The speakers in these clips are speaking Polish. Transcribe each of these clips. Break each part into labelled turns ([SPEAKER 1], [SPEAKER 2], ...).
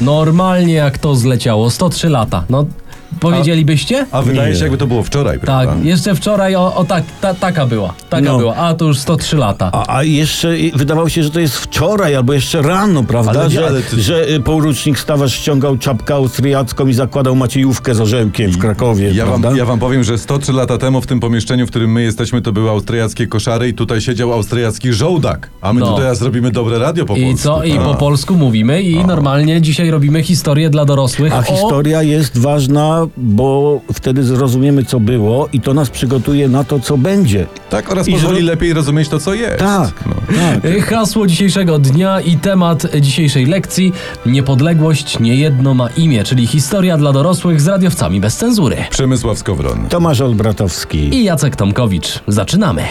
[SPEAKER 1] Normalnie jak to zleciało, 103 lata. No, powiedzielibyście?
[SPEAKER 2] A wydaje
[SPEAKER 3] Nie.
[SPEAKER 2] się, jakby to było wczoraj,
[SPEAKER 1] tak,
[SPEAKER 2] prawda?
[SPEAKER 1] jeszcze wczoraj o, o tak, ta, taka była, taka
[SPEAKER 3] No.
[SPEAKER 1] była, a to już 103 lata.
[SPEAKER 3] A, a jeszcze i- wydawało się, że to jest wczoraj albo jeszcze rano, prawda?
[SPEAKER 2] Ale nie,
[SPEAKER 3] że,
[SPEAKER 2] ale ty-
[SPEAKER 3] że y, porucznik Stawarz ściągał czapkę austriacką i zakładał maciejówkę z orzełkiem w Krakowie,
[SPEAKER 2] Ja
[SPEAKER 3] prawda?
[SPEAKER 2] wam, ja wam powiem, że 103 lata temu w tym pomieszczeniu, w którym my jesteśmy, to były austriackie koszary i tutaj siedział austriacki żołdak. A my
[SPEAKER 1] No.
[SPEAKER 2] tutaj teraz robimy dobre radio po
[SPEAKER 1] I
[SPEAKER 2] polsku. tak.
[SPEAKER 1] co? I
[SPEAKER 2] A.
[SPEAKER 1] po polsku mówimy i normalnie dzisiaj robimy historię dla dorosłych.
[SPEAKER 3] A
[SPEAKER 1] o-
[SPEAKER 3] historia jest ważna, bo wtedy zrozumiemy, co było i to nas przygotuje na to, co będzie.
[SPEAKER 2] Tak, oraz
[SPEAKER 3] I
[SPEAKER 2] pozwoli
[SPEAKER 3] że-
[SPEAKER 2] lepiej rozumieć to, co jest.
[SPEAKER 3] Tak,
[SPEAKER 2] No.
[SPEAKER 3] tak.
[SPEAKER 1] Hasło dzisiejszego dnia i temat dzisiejszej lekcji Niepodległość niejedno ma imię, czyli historia dla dorosłych z radiowcami bez cenzury.
[SPEAKER 2] Przemysław Skowron.
[SPEAKER 3] Tomasz Olbratowski.
[SPEAKER 1] I Jacek Tomkowicz. Zaczynamy.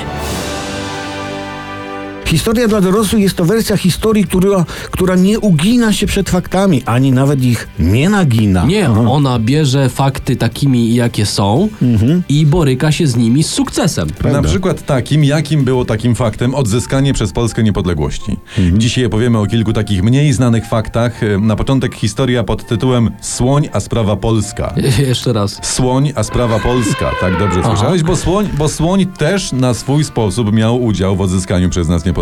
[SPEAKER 3] Historia dla dorosłych jest to wersja historii, która, która nie ugina się przed faktami, ani nawet ich nie nagina.
[SPEAKER 1] Nie,
[SPEAKER 3] Aha.
[SPEAKER 1] ona bierze fakty takimi, jakie są i boryka się z nimi z sukcesem.
[SPEAKER 2] Na przykład takim, jakim było takim faktem odzyskanie przez Polskę niepodległości.
[SPEAKER 1] Mhm.
[SPEAKER 2] Dzisiaj opowiemy o kilku takich mniej znanych faktach. E, Na początek historia pod tytułem Słoń, a sprawa polska.
[SPEAKER 1] Jeszcze raz.
[SPEAKER 2] Słoń, a sprawa polska. Tak dobrze słyszałeś? Bo słoń, bo słoń też na swój sposób miał udział w odzyskaniu przez nas niepodległości.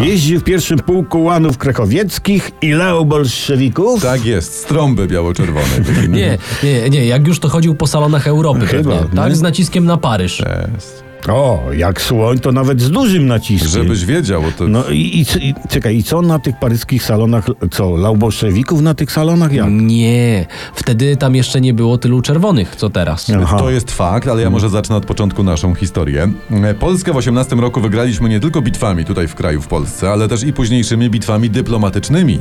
[SPEAKER 3] Jeździ w pierwszym pułku łanów krakowieckich i leo bolszewików.
[SPEAKER 2] Tak jest, strąby biało-czerwone. Tak
[SPEAKER 1] Nie, nie, nie, jak już to chodził po salonach Europy
[SPEAKER 3] Chyba,
[SPEAKER 1] pewnie, tak? Z naciskiem na Paryż.
[SPEAKER 2] Jest.
[SPEAKER 3] O, jak słoń, to nawet z dużym naciskiem.
[SPEAKER 2] Żebyś wiedział, bo to...
[SPEAKER 3] No i, i, c- i czekaj, i co na tych paryskich salonach, co, laubolszewików na tych salonach jak?
[SPEAKER 1] Nie, wtedy tam jeszcze nie było tylu czerwonych, co teraz.
[SPEAKER 3] Aha. Mhm.
[SPEAKER 2] To jest fakt, ale ja może zacznę od początku naszą historię. E, Polskę w 18 roku wygraliśmy nie tylko bitwami tutaj w kraju, w Polsce, ale też i późniejszymi bitwami dyplomatycznymi.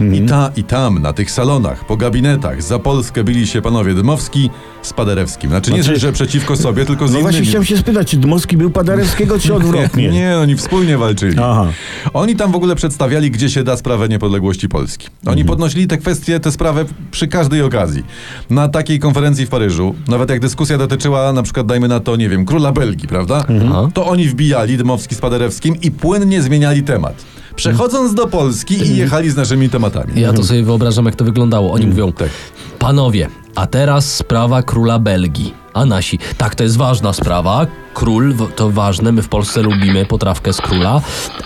[SPEAKER 3] Mhm.
[SPEAKER 2] I ta, i tam, na tych salonach, po gabinetach, za Polskę bili się panowie Dmowski z Paderewskim. Znaczy nie,
[SPEAKER 3] Znaczy-
[SPEAKER 2] że przeciwko sobie, tylko z
[SPEAKER 3] No właśnie
[SPEAKER 2] innymi.
[SPEAKER 3] chciałem się spytać, czy Dmowski był Paderewskiego, czy odwrotnie?
[SPEAKER 2] Nie, nie, no, oni wspólnie walczyli.
[SPEAKER 3] Aha.
[SPEAKER 2] Oni tam w ogóle przedstawiali, gdzie się da sprawę niepodległości Polski. Oni podnosili te kwestie, te sprawy przy każdej okazji. Na takiej konferencji w Paryżu, nawet jak dyskusja dotyczyła na przykład, dajmy na to, nie wiem, króla Belgii, prawda? To oni wbijali Dmowski z Paderewskim i płynnie zmieniali temat. Przechodząc do Polski i jechali z naszymi tematami.
[SPEAKER 1] Ja to sobie wyobrażam, jak to wyglądało.
[SPEAKER 2] Mhm,
[SPEAKER 1] Oni mówią,
[SPEAKER 2] tak.
[SPEAKER 1] panowie, a teraz sprawa króla Belgii. A nasi, tak, to jest ważna sprawa. Król w- to ważne, my w Polsce lubimy potrawkę z króla.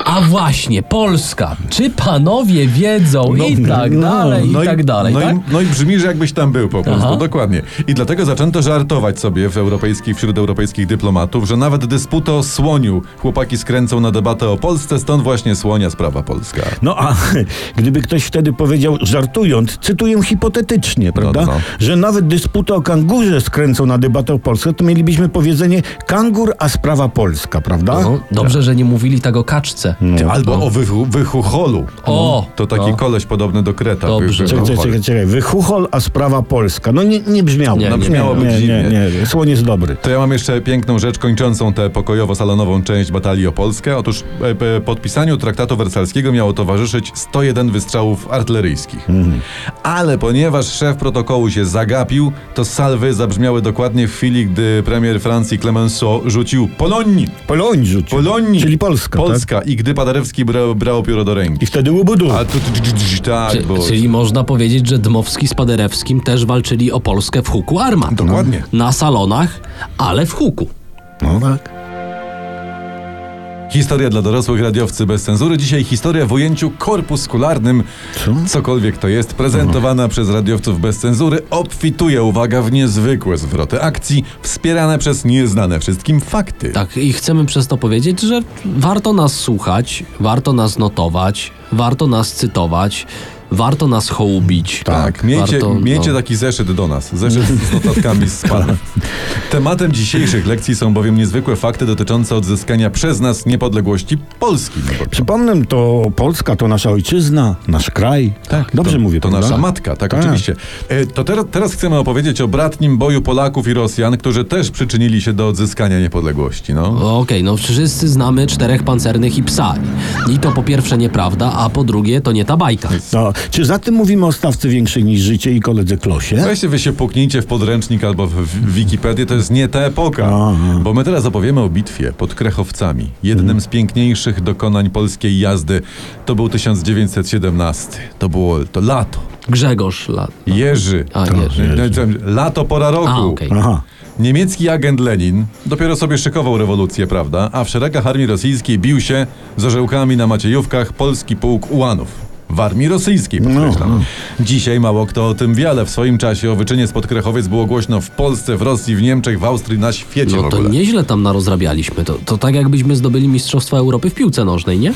[SPEAKER 1] A właśnie, Polska. Czy panowie wiedzą i tak
[SPEAKER 3] no,
[SPEAKER 1] dalej, i tak dalej,
[SPEAKER 2] no,
[SPEAKER 1] tak?
[SPEAKER 2] i, no i brzmi, że jakbyś tam był po prostu,
[SPEAKER 1] Aha.
[SPEAKER 2] dokładnie. I dlatego zaczęto żartować sobie w europejskich, wśród europejskich dyplomatów, że nawet dysputę o słoniu chłopaki skręcą na debatę o Polsce, stąd właśnie słonia sprawa polska.
[SPEAKER 3] No a gdyby ktoś wtedy powiedział, żartując, cytuję hipotetycznie, prawda?
[SPEAKER 2] no.
[SPEAKER 3] Że nawet dysputę o kangurze skręcą na debatę o Polsce, to mielibyśmy powiedzenie kangur, a sprawa polska, prawda?
[SPEAKER 1] No, dobrze, że nie mówili tak o kaczce.
[SPEAKER 2] Albo o wychu, wychucholu.
[SPEAKER 1] O!
[SPEAKER 2] To taki
[SPEAKER 1] No.
[SPEAKER 2] koleś podobny do Kreta.
[SPEAKER 1] Dobrze.
[SPEAKER 2] był
[SPEAKER 3] Czekaj,
[SPEAKER 2] wychuchol.
[SPEAKER 3] czekaj, czekaj, czekaj. Wychuchol, a sprawa polska. No nie, nie brzmiało.
[SPEAKER 1] Nie, No, nie,
[SPEAKER 2] brzmiałoby
[SPEAKER 3] nie, nie,
[SPEAKER 2] dziwnie.
[SPEAKER 3] nie, nie. Słoń jest dobry.
[SPEAKER 2] To ja mam jeszcze piękną rzecz kończącą tę pokojowo-salonową część batalii o Polskę. Otóż e, p- podpisaniu traktatu wersalskiego miało towarzyszyć 101 wystrzałów artyleryjskich.
[SPEAKER 3] Mhm.
[SPEAKER 2] Ale ponieważ szef protokołu się zagapił, to salwy zabrzmiały dokładnie w chwili, gdy premier Francji Clemenceau rzucił Polonii!
[SPEAKER 3] Poloń rzucił.
[SPEAKER 2] Polonii!
[SPEAKER 3] Czyli Polska, Tak?
[SPEAKER 2] Polska! I gdy Paderewski brał, brał pióro do ręki.
[SPEAKER 3] I wtedy łubudu.
[SPEAKER 2] A tu, tu, tu, tu, tu tak,
[SPEAKER 1] Czy,
[SPEAKER 2] było.
[SPEAKER 1] czyli można powiedzieć, że Dmowski z Paderewskim też walczyli o Polskę w huku armat.
[SPEAKER 2] Dokładnie.
[SPEAKER 1] Na salonach, ale w huku.
[SPEAKER 3] No tak.
[SPEAKER 2] Historia dla dorosłych radiowcy bez cenzury. Dzisiaj historia w ujęciu korpuskularnym. Cokolwiek to jest, prezentowana
[SPEAKER 1] Mhm.
[SPEAKER 2] przez radiowców bez cenzury, obfituje, uwaga, w niezwykłe zwroty akcji, wspierane przez nieznane wszystkim fakty.
[SPEAKER 1] Tak, i chcemy przez to powiedzieć, że warto nas słuchać, warto nas notować, warto nas cytować, warto nas hołubić.
[SPEAKER 2] Tak, miejcie,
[SPEAKER 1] warto,
[SPEAKER 2] miejcie
[SPEAKER 1] no.
[SPEAKER 2] taki zeszyt do nas, zeszyt z notatkami z panów. Tematem dzisiejszych lekcji są bowiem niezwykłe fakty dotyczące odzyskania przez nas niepodległości Polski.
[SPEAKER 3] Przypomnę, to Polska to nasza ojczyzna, nasz kraj.
[SPEAKER 2] Tak,
[SPEAKER 3] Dobrze
[SPEAKER 2] to,
[SPEAKER 3] mówię,
[SPEAKER 2] To
[SPEAKER 3] prawda?
[SPEAKER 2] nasza matka, tak,
[SPEAKER 3] Tak.
[SPEAKER 2] oczywiście. E, to teraz, teraz chcemy opowiedzieć o bratnim boju Polaków i Rosjan, którzy też przyczynili się do odzyskania niepodległości. No.
[SPEAKER 1] Okej, no wszyscy znamy czterech pancernych i psa. I to po pierwsze nieprawda, a po drugie to nie ta bajka.
[SPEAKER 3] No, czy za tym mówimy o stawce większej niż życie i koledze Klosie?
[SPEAKER 2] Weźcie wy się puknijcie w podręcznik albo w- w Wikipedię, to jest nie ta epoka.
[SPEAKER 3] Aha.
[SPEAKER 2] Bo my teraz opowiemy o bitwie pod Krechowcami. Jednym z piękniejszych dokonań polskiej jazdy to był 1917. To było to lato.
[SPEAKER 1] Grzegorz lat.
[SPEAKER 2] Jerzy.
[SPEAKER 1] No.
[SPEAKER 2] No,
[SPEAKER 1] A, Jerzy.
[SPEAKER 2] Lato, pora roku.
[SPEAKER 1] A, okej.
[SPEAKER 3] Aha.
[SPEAKER 2] Niemiecki agent Lenin dopiero sobie szykował rewolucję, prawda? A w szeregach armii rosyjskiej bił się z orzełkami na maciejówkach polski pułk ułanów. W armii rosyjskiej,
[SPEAKER 1] No,
[SPEAKER 2] podkreślam. Dzisiaj mało kto o tym wie, ale w swoim czasie o wyczynie spod Krachowiec było głośno w Polsce, w Rosji, w Niemczech, w Austrii, na świecie
[SPEAKER 1] No
[SPEAKER 2] w
[SPEAKER 1] to
[SPEAKER 2] ogóle.
[SPEAKER 1] nieźle tam narozrabialiśmy. To, to tak jakbyśmy zdobyli Mistrzostwa Europy w piłce nożnej, nie?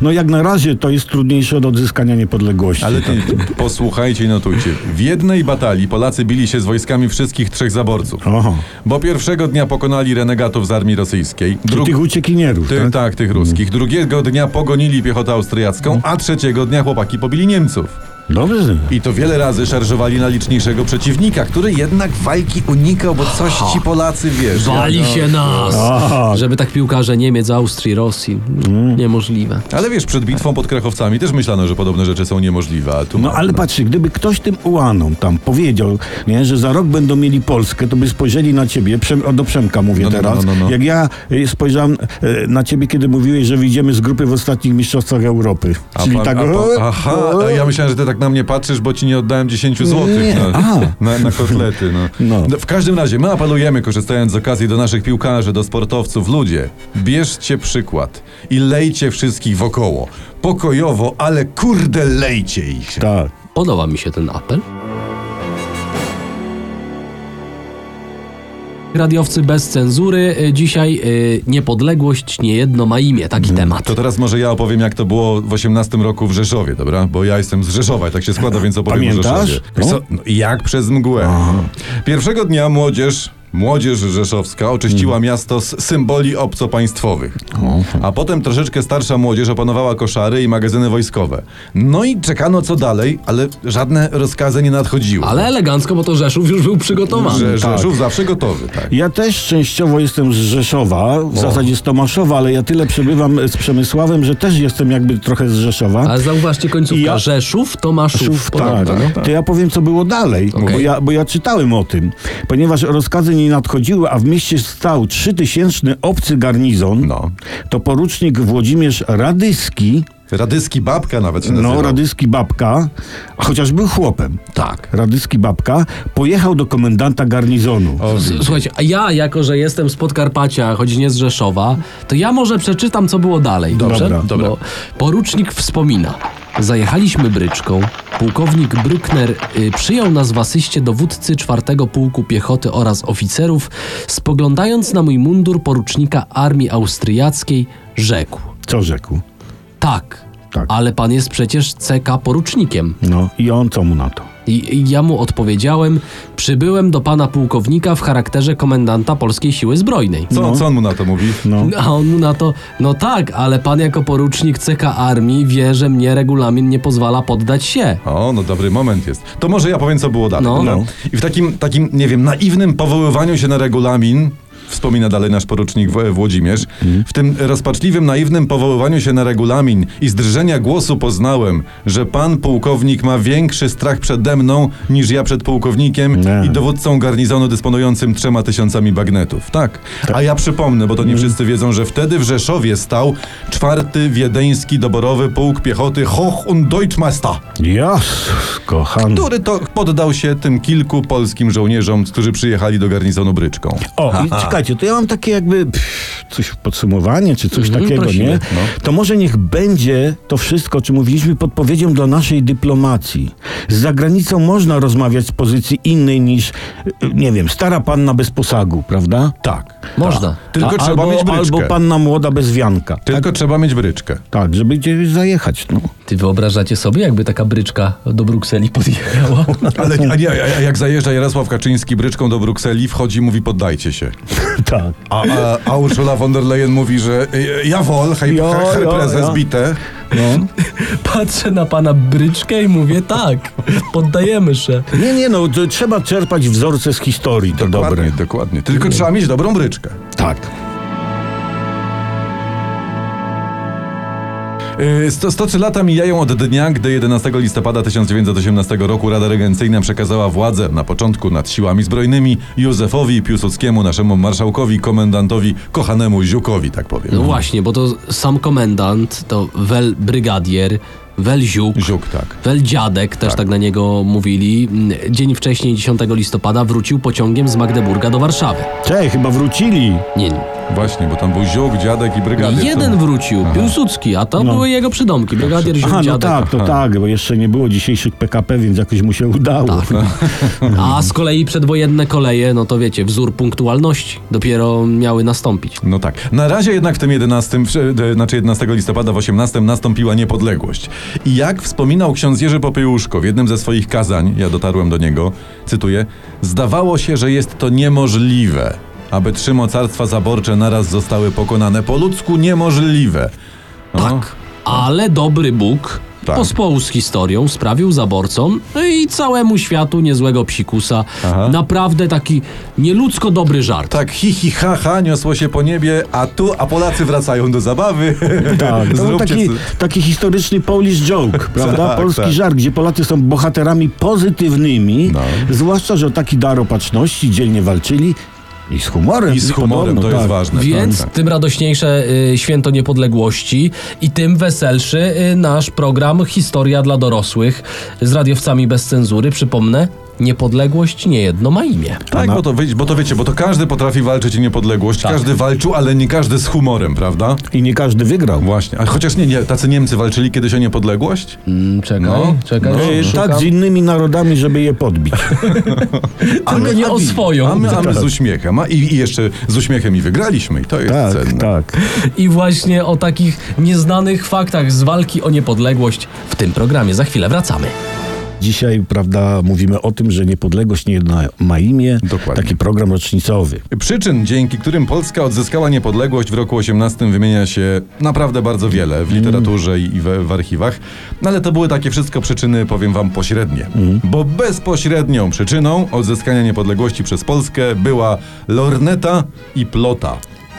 [SPEAKER 3] No jak na razie to jest trudniejsze od odzyskania niepodległości.
[SPEAKER 2] Ale ty, posłuchajcie i notujcie. W jednej batalii Polacy bili się z wojskami wszystkich trzech zaborców.
[SPEAKER 3] Oho.
[SPEAKER 2] Bo pierwszego dnia pokonali renegatów z armii rosyjskiej.
[SPEAKER 3] Czy
[SPEAKER 2] dru-
[SPEAKER 3] tych uciekinierów,
[SPEAKER 2] Ty,
[SPEAKER 3] tak?
[SPEAKER 2] tak? tych ruskich. Drugiego dnia pogonili piechotę austriacką, a trzeciego dnia chłopaki pobili Niemców.
[SPEAKER 3] Dobrze.
[SPEAKER 2] I to wiele razy szarżowali na liczniejszego przeciwnika, który jednak walki unikał, bo coś ci Polacy wiesz.
[SPEAKER 1] Wali
[SPEAKER 2] no.
[SPEAKER 1] się nas!
[SPEAKER 3] Aha.
[SPEAKER 1] Żeby tak piłkarze Niemiec, Austrii, Rosji.
[SPEAKER 2] Mm.
[SPEAKER 1] Niemożliwe.
[SPEAKER 2] Ale wiesz, przed bitwą pod Krachowcami też myślano, że podobne rzeczy są niemożliwe. A tu
[SPEAKER 3] No ale patrzcie, gdyby ktoś tym ułanom tam powiedział, nie, że za rok będą mieli Polskę, to by spojrzeli na ciebie, Przem, o, do Przemka mówię
[SPEAKER 2] No, no,
[SPEAKER 3] teraz,
[SPEAKER 2] no, no, no.
[SPEAKER 3] jak ja y, spojrzałem e, na ciebie, kiedy mówiłeś, że wyjdziemy z grupy w ostatnich mistrzostwach Europy.
[SPEAKER 2] A
[SPEAKER 3] Czyli
[SPEAKER 2] pan-
[SPEAKER 3] tak...
[SPEAKER 2] a pan-
[SPEAKER 3] o,
[SPEAKER 2] aha,
[SPEAKER 3] o,
[SPEAKER 2] a ja myślałem, że ty tak na mnie patrzysz, bo ci nie oddałem 10 złotych
[SPEAKER 3] Nie,
[SPEAKER 2] no,
[SPEAKER 3] a.
[SPEAKER 2] na, na kotlety. No.
[SPEAKER 3] No.
[SPEAKER 2] No, W każdym razie my apelujemy, korzystając z okazji do naszych piłkarzy, do sportowców, ludzie, bierzcie przykład i lejcie wszystkich wokoło. Pokojowo, ale kurde lejcie ich.
[SPEAKER 3] Tak.
[SPEAKER 1] Podoba mi się ten apel. Radiowcy bez cenzury. Y, Dzisiaj y, niepodległość niejedno ma imię. Taki temat.
[SPEAKER 2] To tak- teraz może ja opowiem, jak to było w 18 roku w Rzeszowie, dobra? Bo ja jestem z Rzeszowa, i tak się składa, więc opowiem o
[SPEAKER 3] Pamiętasz?
[SPEAKER 2] Rzeszowie. Wiesz co? No, jak przez mgłę. Pierwszego dnia młodzież, młodzież rzeszowska oczyściła
[SPEAKER 3] Mm.
[SPEAKER 2] miasto z symboli obcopaństwowych. A potem troszeczkę starsza młodzież opanowała koszary i magazyny wojskowe. No i czekano co dalej, ale żadne rozkazy nie nadchodziły.
[SPEAKER 1] Ale elegancko, bo to Rzeszów już był przygotowany.
[SPEAKER 2] Że, Rzeszów zawsze gotowy, tak.
[SPEAKER 3] Ja też częściowo jestem z Rzeszowa, w zasadzie z Tomaszowa, ale ja tyle przebywam z Przemysławem, że też jestem jakby trochę z Rzeszowa.
[SPEAKER 1] Ale zauważcie końcówka.
[SPEAKER 3] Ja-
[SPEAKER 1] Rzeszów, Tomaszów.
[SPEAKER 3] tak,
[SPEAKER 1] Podobno, no.
[SPEAKER 3] To ja powiem, co było dalej,
[SPEAKER 1] Okej.
[SPEAKER 3] bo, ja, bo ja czytałem o tym. Ponieważ rozkazy nie nadchodziły, a w mieście stał trzytysięczny obcy garnizon,
[SPEAKER 2] No.
[SPEAKER 3] to porucznik Włodzimierz Radyski,
[SPEAKER 2] Radyski babka nawet się nazywał.
[SPEAKER 3] no Radyski Babka, chociaż był chłopem,
[SPEAKER 1] Tak.
[SPEAKER 3] Radyski Babka, pojechał do komendanta garnizonu.
[SPEAKER 2] O,
[SPEAKER 1] S- Słuchajcie, a ja jako, że jestem z Podkarpacia, choć nie z Rzeszowa, to ja może przeczytam, co było dalej.
[SPEAKER 3] Dobra,
[SPEAKER 1] Dobrze?
[SPEAKER 2] dobra.
[SPEAKER 1] Bo porucznik wspomina. Zajechaliśmy bryczką. Pułkownik Brückner y, przyjął nas w asyście dowódcy czwartego pułku piechoty oraz oficerów. Spoglądając na mój mundur porucznika armii austriackiej, rzekł:
[SPEAKER 3] Co rzekł?
[SPEAKER 1] Tak,
[SPEAKER 3] Tak.
[SPEAKER 1] ale pan jest przecież CK porucznikiem.
[SPEAKER 3] No i on co mu na to?
[SPEAKER 1] I i ja mu odpowiedziałem: Przybyłem do pana pułkownika w charakterze komendanta polskiej siły zbrojnej.
[SPEAKER 2] Co, co on mu na to mówi?
[SPEAKER 3] No.
[SPEAKER 1] A on mu na to, no tak, ale pan jako porucznik CK Armii wie, że mnie regulamin nie pozwala poddać się.
[SPEAKER 2] O, no dobry moment jest. To może ja powiem, co było dalej.
[SPEAKER 1] No.
[SPEAKER 2] dobra?
[SPEAKER 1] No.
[SPEAKER 2] I w takim, takim, nie wiem, naiwnym powoływaniu się na regulamin, wspomina dalej nasz porucznik W- Włodzimierz, w tym rozpaczliwym, naiwnym powoływaniu się na regulamin i z drżenia głosu poznałem, że pan pułkownik ma większy strach przede mną niż ja przed pułkownikiem
[SPEAKER 3] Nie.
[SPEAKER 2] i dowódcą garnizonu dysponującym trzema tysiącami bagnetów. Tak. A ja przypomnę, bo to nie wszyscy wiedzą, że wtedy w Rzeszowie stał czwarty wiedeński doborowy pułk piechoty Hoch und Deutschmeister
[SPEAKER 3] Jas, kochany.
[SPEAKER 2] który to poddał się tym kilku polskim żołnierzom, którzy przyjechali do garnizonu bryczką.
[SPEAKER 3] O, i czekajcie, to ja mam takie jakby pff, coś w podsumowanie, czy coś
[SPEAKER 1] Mhm,
[SPEAKER 3] takiego,
[SPEAKER 1] prosimy.
[SPEAKER 3] nie?
[SPEAKER 2] no.
[SPEAKER 3] To może niech będzie to wszystko, o czym mówiliśmy, podpowiedzią dla naszej dyplomacji. Z zagranicą można rozmawiać z pozycji innej niż, y, nie wiem, stara panna bez posagu, prawda?
[SPEAKER 2] Tak.
[SPEAKER 1] Można.
[SPEAKER 2] Tylko trzeba
[SPEAKER 3] albo,
[SPEAKER 2] mieć bryczkę.
[SPEAKER 3] Albo panna młoda bez wianka.
[SPEAKER 2] Tylko trzeba mieć bryczkę.
[SPEAKER 3] Tak, żeby gdzieś zajechać, no.
[SPEAKER 1] Ty wyobrażacie sobie, jakby taka bryczka do Brukseli podjechała?
[SPEAKER 2] Ale a nie, a, a jak zajeżdża Jarosław Kaczyński bryczką do Brukseli, wchodzi i mówi poddajcie się.
[SPEAKER 3] tak.
[SPEAKER 2] A, a, a Ursula von der Leyen mówi, że y, ja wol, hej,
[SPEAKER 3] Jo,
[SPEAKER 2] hej, hej
[SPEAKER 3] jo,
[SPEAKER 2] prezes,
[SPEAKER 3] jo.
[SPEAKER 2] bite.
[SPEAKER 3] No.
[SPEAKER 1] Patrzę na pana bryczkę i mówię tak, poddajemy się.
[SPEAKER 3] Nie, nie, no, to trzeba czerpać wzorce z historii, to
[SPEAKER 2] Dokładnie,
[SPEAKER 3] dobre.
[SPEAKER 2] dokładnie. Tylko trzeba mieć dobrą bryczkę.
[SPEAKER 3] Tak.
[SPEAKER 2] Yy, Sto, 103 lata mijają od dnia, gdy 11 listopada 1918 roku Rada Regencyjna przekazała władzę na początku nad siłami zbrojnymi Józefowi Piłsudskiemu, naszemu marszałkowi, komendantowi, kochanemu Ziukowi, tak powiem.
[SPEAKER 1] No właśnie, bo to sam komendant, to wel brygadier, Welziuk.
[SPEAKER 2] Ziuk, tak.
[SPEAKER 1] Weldziadek, też tak. na niego mówili. Dzień wcześniej, 10 listopada, wrócił pociągiem z Magdeburga do Warszawy.
[SPEAKER 3] Czej, chyba wrócili.
[SPEAKER 1] Nie,
[SPEAKER 2] Właśnie, bo tam był Ziuk, Dziadek i Brygadier.
[SPEAKER 1] jeden
[SPEAKER 2] Co-
[SPEAKER 1] wrócił, Piłsudski, a to
[SPEAKER 3] No.
[SPEAKER 1] były jego przydomki, brygadier Ziół,
[SPEAKER 3] Aha, no
[SPEAKER 1] Dziadek.
[SPEAKER 3] tak, to
[SPEAKER 2] Aha.
[SPEAKER 3] tak, bo jeszcze nie było dzisiejszych PKP, więc jakoś mu się udało.
[SPEAKER 2] Tak, no.
[SPEAKER 3] tak.
[SPEAKER 1] A z kolei przedwojenne koleje, no to wiecie, wzór punktualności dopiero miały nastąpić.
[SPEAKER 2] No tak. Na razie jednak w tym 11, w- e, znaczy 11 listopada w 18 nastąpiła niepodległość. I jak wspominał ksiądz Jerzy Popiełuszko w jednym ze swoich kazań, ja dotarłem do niego, cytuję, zdawało się, że jest to niemożliwe, aby trzy mocarstwa zaborcze naraz zostały pokonane. Po ludzku niemożliwe. No,
[SPEAKER 1] Tak, ale dobry Bóg
[SPEAKER 2] Tak.
[SPEAKER 1] pospołu z historią sprawił zaborcom no i całemu światu niezłego psikusa.
[SPEAKER 2] Aha.
[SPEAKER 1] Naprawdę taki nieludzko dobry żart.
[SPEAKER 2] Tak, hi, hi, ha, ha, niosło się po niebie, a tu, a Polacy wracają do zabawy.
[SPEAKER 3] Tak, to był
[SPEAKER 2] Zróbcie
[SPEAKER 3] taki,
[SPEAKER 2] co-
[SPEAKER 3] taki historyczny Polish joke, prawda?
[SPEAKER 2] Tak,
[SPEAKER 3] Polski
[SPEAKER 2] tak.
[SPEAKER 3] żart, gdzie Polacy są bohaterami pozytywnymi,
[SPEAKER 2] No.
[SPEAKER 3] zwłaszcza, że o taki dar opatrzności dzielnie walczyli i z humorem.
[SPEAKER 2] I z humorem,
[SPEAKER 3] podobno,
[SPEAKER 2] to jest
[SPEAKER 3] tak.
[SPEAKER 2] ważne.
[SPEAKER 1] Więc
[SPEAKER 2] tak.
[SPEAKER 1] tym radośniejsze y, święto niepodległości i tym weselszy y, nasz program Historia dla dorosłych z radiowcami bez cenzury. Przypomnę, niepodległość niejedno ma imię.
[SPEAKER 2] Tak, bo to, wy- bo to wiecie, bo to każdy potrafi walczyć o niepodległość,
[SPEAKER 1] Tak.
[SPEAKER 2] każdy walczył, ale nie każdy z humorem, prawda?
[SPEAKER 3] I nie każdy wygrał.
[SPEAKER 2] Właśnie. A chociaż nie, nie, tacy Niemcy walczyli kiedyś o niepodległość?
[SPEAKER 1] Mm, czekaj,
[SPEAKER 2] No,
[SPEAKER 1] czekaj.
[SPEAKER 2] no.
[SPEAKER 3] E,
[SPEAKER 1] szukam.
[SPEAKER 3] tak z innymi narodami, żeby je podbić.
[SPEAKER 2] A
[SPEAKER 1] Tylko nie o swoją.
[SPEAKER 2] A my, a
[SPEAKER 3] tak.
[SPEAKER 2] my z uśmiechem. A i, i jeszcze z uśmiechem i wygraliśmy. I to jest
[SPEAKER 3] Tak,
[SPEAKER 2] cenne.
[SPEAKER 3] tak.
[SPEAKER 1] I właśnie o takich nieznanych faktach z walki o niepodległość w tym programie. Za chwilę wracamy.
[SPEAKER 3] Dzisiaj, prawda, mówimy o tym, że niepodległość nie jedna ma imię.
[SPEAKER 2] Dokładnie.
[SPEAKER 3] Taki program rocznicowy.
[SPEAKER 2] Przyczyn, dzięki którym Polska odzyskała niepodległość w roku 18 wymienia się naprawdę bardzo wiele w literaturze i- i w, w archiwach, no ale to były takie wszystko przyczyny, powiem wam, pośrednie.
[SPEAKER 3] Mhm.
[SPEAKER 2] Bo bezpośrednią przyczyną odzyskania niepodległości przez Polskę była lorneta i plota.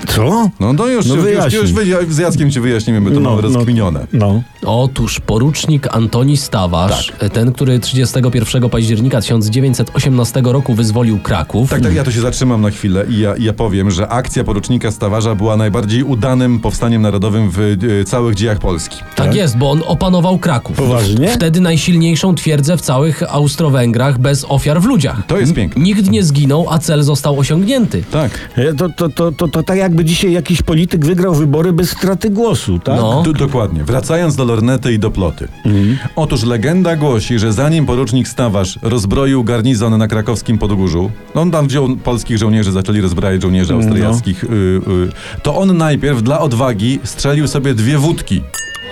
[SPEAKER 3] Co?
[SPEAKER 2] No to już,
[SPEAKER 3] No
[SPEAKER 2] już, już,
[SPEAKER 3] wyjaśnij.
[SPEAKER 2] już wyja- z Jackiem ci wyjaśnimy, bo to mamy rozkminione.
[SPEAKER 3] No.
[SPEAKER 1] Otóż porucznik Antoni Stawarz, ten, który 31 października 1918 roku wyzwolił Kraków.
[SPEAKER 2] Tak, tak, ja tu się zatrzymam na chwilę i ja, i ja powiem, że akcja porucznika Stawarza była najbardziej udanym powstaniem narodowym w e, całych dziejach Polski.
[SPEAKER 1] Tak jest, bo on opanował Kraków.
[SPEAKER 3] Poważnie?
[SPEAKER 1] Wtedy najsilniejszą twierdzę w całych Austro-Węgrach bez ofiar w ludziach.
[SPEAKER 2] To
[SPEAKER 3] Mm.
[SPEAKER 2] jest piękne.
[SPEAKER 1] Nikt nie zginął, a cel został osiągnięty.
[SPEAKER 2] Tak.
[SPEAKER 3] E, To, to, to, to, to tak jakby dzisiaj jakiś polityk wygrał wybory bez straty głosu, tak?
[SPEAKER 1] No.
[SPEAKER 2] Tu, dokładnie. Wracając do lornety i do ploty.
[SPEAKER 3] Mm.
[SPEAKER 2] Otóż legenda głosi, że zanim porucznik Stawarz rozbroił garnizon na krakowskim Podgórzu, no on tam wziął polskich żołnierzy, zaczęli rozbrajać
[SPEAKER 3] No.
[SPEAKER 2] żołnierzy austriackich, y, y, to on najpierw dla odwagi strzelił sobie dwie wódki,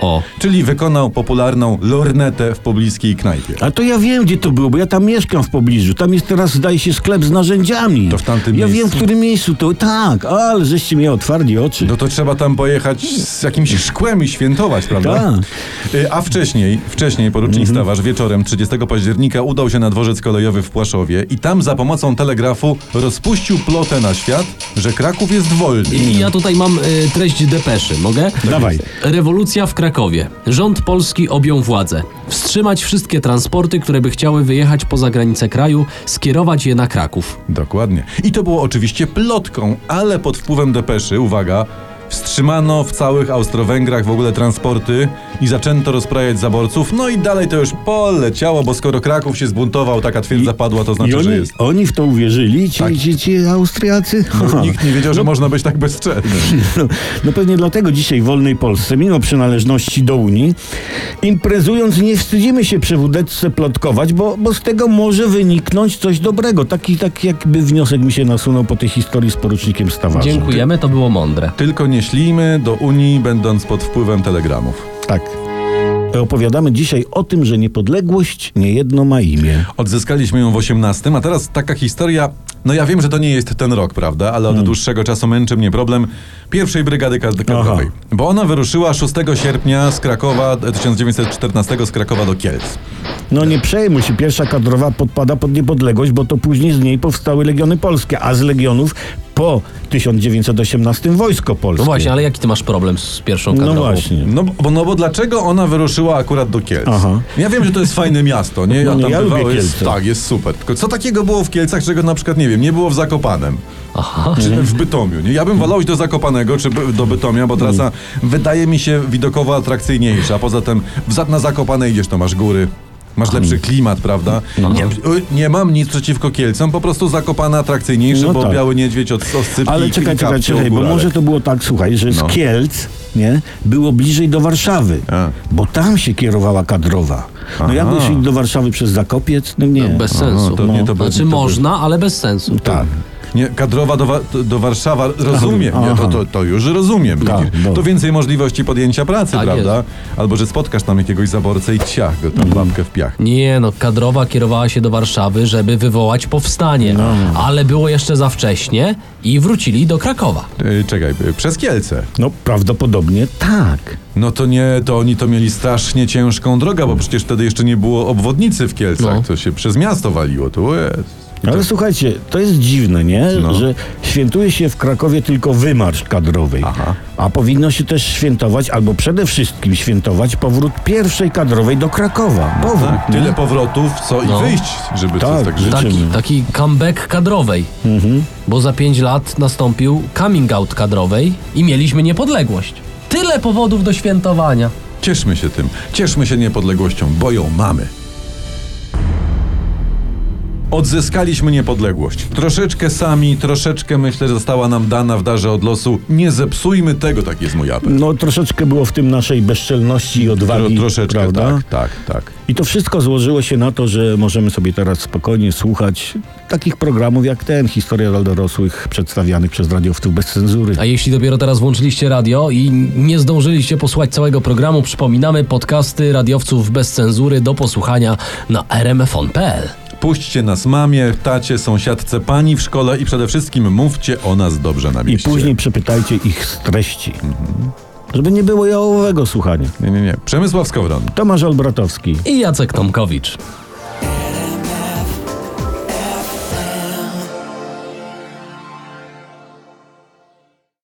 [SPEAKER 1] O.
[SPEAKER 2] czyli wykonał popularną lornetę w pobliskiej knajpie.
[SPEAKER 3] A to ja wiem, gdzie to było, bo ja tam mieszkam w pobliżu. Tam jest teraz, zdaje się, sklep z narzędziami.
[SPEAKER 2] To w tamtym
[SPEAKER 3] Ja
[SPEAKER 2] miejscu?
[SPEAKER 3] wiem, w którym miejscu to. Tak, ale żeście mnie otwarli oczy.
[SPEAKER 2] No to trzeba tam pojechać z jakimś szkłem i świętować, prawda?
[SPEAKER 1] Tak.
[SPEAKER 2] Y, A wcześniej, wcześniej porucznik
[SPEAKER 1] Mhm.
[SPEAKER 2] Stawarz wieczorem 30 października udał się na dworzec kolejowy w Płaszowie i tam za pomocą telegrafu rozpuścił plotę na świat, że Kraków jest wolny.
[SPEAKER 1] I ja tutaj mam y, treść depeszy, mogę?
[SPEAKER 2] tak
[SPEAKER 3] Dawaj.
[SPEAKER 1] Rewolucja w Krakowie. Rząd polski objął władzę. Wstrzymać wszystkie transporty, które by chciały wyjechać poza granice kraju, skierować je na Kraków.
[SPEAKER 2] Dokładnie. I to było oczywiście plotką, ale pod wpływem depeszy, uwaga, wstrzymano w całych Austro-Węgrach w ogóle transporty i zaczęto rozprajać zaborców. No i dalej to już poleciało, bo skoro Kraków się zbuntował, taka twierdza padła, to
[SPEAKER 3] I
[SPEAKER 2] znaczy,
[SPEAKER 3] oni,
[SPEAKER 2] że jest. Tak. No,
[SPEAKER 3] oni w to uwierzyli, ci, ci, ci Austriacy?
[SPEAKER 2] Nikt nie wiedział, że można być tak bezczelnym.
[SPEAKER 3] No, no pewnie dlatego dzisiaj w wolnej Polsce, mimo przynależności do Unii, imprezując nie wstydzimy się przewódecce plotkować, bo, bo z tego może wyniknąć coś dobrego. Taki, taki jakby wniosek mi się nasunął po tej historii z porucznikiem Stawarzem.
[SPEAKER 1] Dziękujemy, to było mądre.
[SPEAKER 2] Tylko nie ślijmy do Unii, będąc pod wpływem telegramów.
[SPEAKER 3] Tak. Opowiadamy dzisiaj o tym, że niepodległość nie jedno ma imię.
[SPEAKER 2] Odzyskaliśmy ją w 18, a teraz taka historia. No ja wiem, że to nie jest ten rok, prawda? Ale od
[SPEAKER 3] Hmm.
[SPEAKER 2] dłuższego czasu męczy mnie problem pierwszej brygady kad- kadrowej. Bo ona wyruszyła 6 sierpnia z Krakowa, e, 1914 z Krakowa do Kielc.
[SPEAKER 3] No nie przejmuj się, pierwsza kadrowa podpada pod niepodległość, bo to później z niej powstały Legiony Polskie, a z Legionów po 1918 wojsko polskie.
[SPEAKER 1] No właśnie, ale jaki ty masz problem z pierwszą
[SPEAKER 3] No
[SPEAKER 1] kadrową?
[SPEAKER 3] właśnie.
[SPEAKER 2] No bo, no bo dlaczego ona wyruszyła akurat do Kielc?
[SPEAKER 3] Aha.
[SPEAKER 2] Ja wiem, że to jest fajne miasto, nie?
[SPEAKER 3] No nie, ja lubię
[SPEAKER 2] bywałem, jest,
[SPEAKER 3] Kielce.
[SPEAKER 2] Tak, jest super. Tylko co takiego było w Kielcach, czego na przykład, nie wiem, nie było w Zakopanem?
[SPEAKER 1] Aha.
[SPEAKER 2] Czy
[SPEAKER 3] Mhm.
[SPEAKER 2] w Bytomiu, nie? Ja bym wolał iść do Zakopanego, czy by- do Bytomia, bo trasa
[SPEAKER 3] Mhm.
[SPEAKER 2] wydaje mi się widokowo atrakcyjniejsza. Poza tym w, Za- na Zakopane idziesz, to masz góry. Masz
[SPEAKER 3] Mhm.
[SPEAKER 2] lepszy klimat, prawda?
[SPEAKER 3] No,
[SPEAKER 2] Nie, y, nie mam nic przeciwko Kielcom, po prostu Zakopane atrakcyjniejsze,
[SPEAKER 3] No
[SPEAKER 2] bo
[SPEAKER 3] tak.
[SPEAKER 2] biały niedźwiedź od oscypki
[SPEAKER 3] Ale
[SPEAKER 2] i
[SPEAKER 3] czekaj,
[SPEAKER 2] kilka
[SPEAKER 3] czekaj, czekaj, bo
[SPEAKER 2] psiogóralek.
[SPEAKER 3] może to było tak, słuchaj, że z
[SPEAKER 2] No.
[SPEAKER 3] Kielc, nie, było bliżej do Warszawy,
[SPEAKER 2] A.
[SPEAKER 3] bo tam się kierowała kadrowa. No
[SPEAKER 2] Aha.
[SPEAKER 3] jakby się do Warszawy przez Zakopiec, no nie.
[SPEAKER 1] Bez sensu.
[SPEAKER 2] to nie, to by-
[SPEAKER 1] znaczy
[SPEAKER 2] to by-
[SPEAKER 1] można, ale bez sensu.
[SPEAKER 3] tak.
[SPEAKER 2] Nie, kadrowa do, Wa- do Warszawa, rozumiem, nie, to,
[SPEAKER 3] Aha.
[SPEAKER 2] to, to już rozumiem.
[SPEAKER 3] Tak,
[SPEAKER 2] widzisz.
[SPEAKER 3] dobra.
[SPEAKER 2] to więcej możliwości podjęcia pracy,
[SPEAKER 1] Tak
[SPEAKER 2] prawda? Albo, że spotkasz tam jakiegoś zaborcę i ciach go
[SPEAKER 3] Mhm.
[SPEAKER 2] tam babkę w piach.
[SPEAKER 1] Nie no, kadrowa kierowała się do Warszawy, żeby wywołać powstanie, ale było jeszcze za wcześnie i wrócili do Krakowa.
[SPEAKER 2] Yy, czekaj, y, przez Kielce.
[SPEAKER 3] No prawdopodobnie tak.
[SPEAKER 2] No to nie, to oni to mieli strasznie ciężką drogę, bo przecież wtedy jeszcze nie było obwodnicy w Kielcach,
[SPEAKER 1] No.
[SPEAKER 2] to się przez miasto waliło, to jest.
[SPEAKER 3] Ale słuchajcie, to jest dziwne, nie?
[SPEAKER 2] Tak. No.
[SPEAKER 3] Że świętuje się w Krakowie tylko wymarsz kadrowej.
[SPEAKER 2] Aha.
[SPEAKER 3] A powinno się też świętować, albo przede wszystkim świętować powrót pierwszej kadrowej do Krakowa. Powrót.
[SPEAKER 2] Tak,
[SPEAKER 3] nie?
[SPEAKER 2] tyle powrotów, co
[SPEAKER 1] Mhm. No.
[SPEAKER 2] i wyjść, żeby
[SPEAKER 3] Tak,
[SPEAKER 2] coś tak żyć.
[SPEAKER 1] Taki,
[SPEAKER 3] Życzymy.
[SPEAKER 1] taki comeback kadrowej, bo za pięć lat nastąpił coming out kadrowej i mieliśmy niepodległość. Tyle powodów do świętowania.
[SPEAKER 2] Cieszmy się tym, cieszmy się niepodległością, bo ją mamy. Odzyskaliśmy niepodległość. Troszeczkę sami, troszeczkę myślę, że została nam dana w darze od losu. Nie zepsujmy tego, tak jest mój apel.
[SPEAKER 3] No troszeczkę było w tym naszej bezczelności i odwagi,
[SPEAKER 2] troszeczkę,
[SPEAKER 3] prawda?
[SPEAKER 2] tak, tak, tak.
[SPEAKER 3] I to wszystko złożyło się na to, że możemy sobie teraz spokojnie słuchać takich programów jak ten, Historia dla dorosłych, przedstawianych przez radiowców bez cenzury.
[SPEAKER 1] A jeśli dopiero teraz włączyliście radio i nie zdążyliście posłuchać całego programu, przypominamy podcasty radiowców bez cenzury do posłuchania na rmfon.pl.
[SPEAKER 2] Puśćcie nas mamie, tacie, sąsiadce, pani w szkole i przede wszystkim mówcie o nas dobrze na
[SPEAKER 3] I
[SPEAKER 2] mieście.
[SPEAKER 3] później przepytajcie ich z treści. Żeby nie było jałowego słuchania.
[SPEAKER 2] Nie, nie, nie. Przemysław Skowron.
[SPEAKER 3] Tomasz Olbratowski.
[SPEAKER 1] I Jacek Tomkowicz.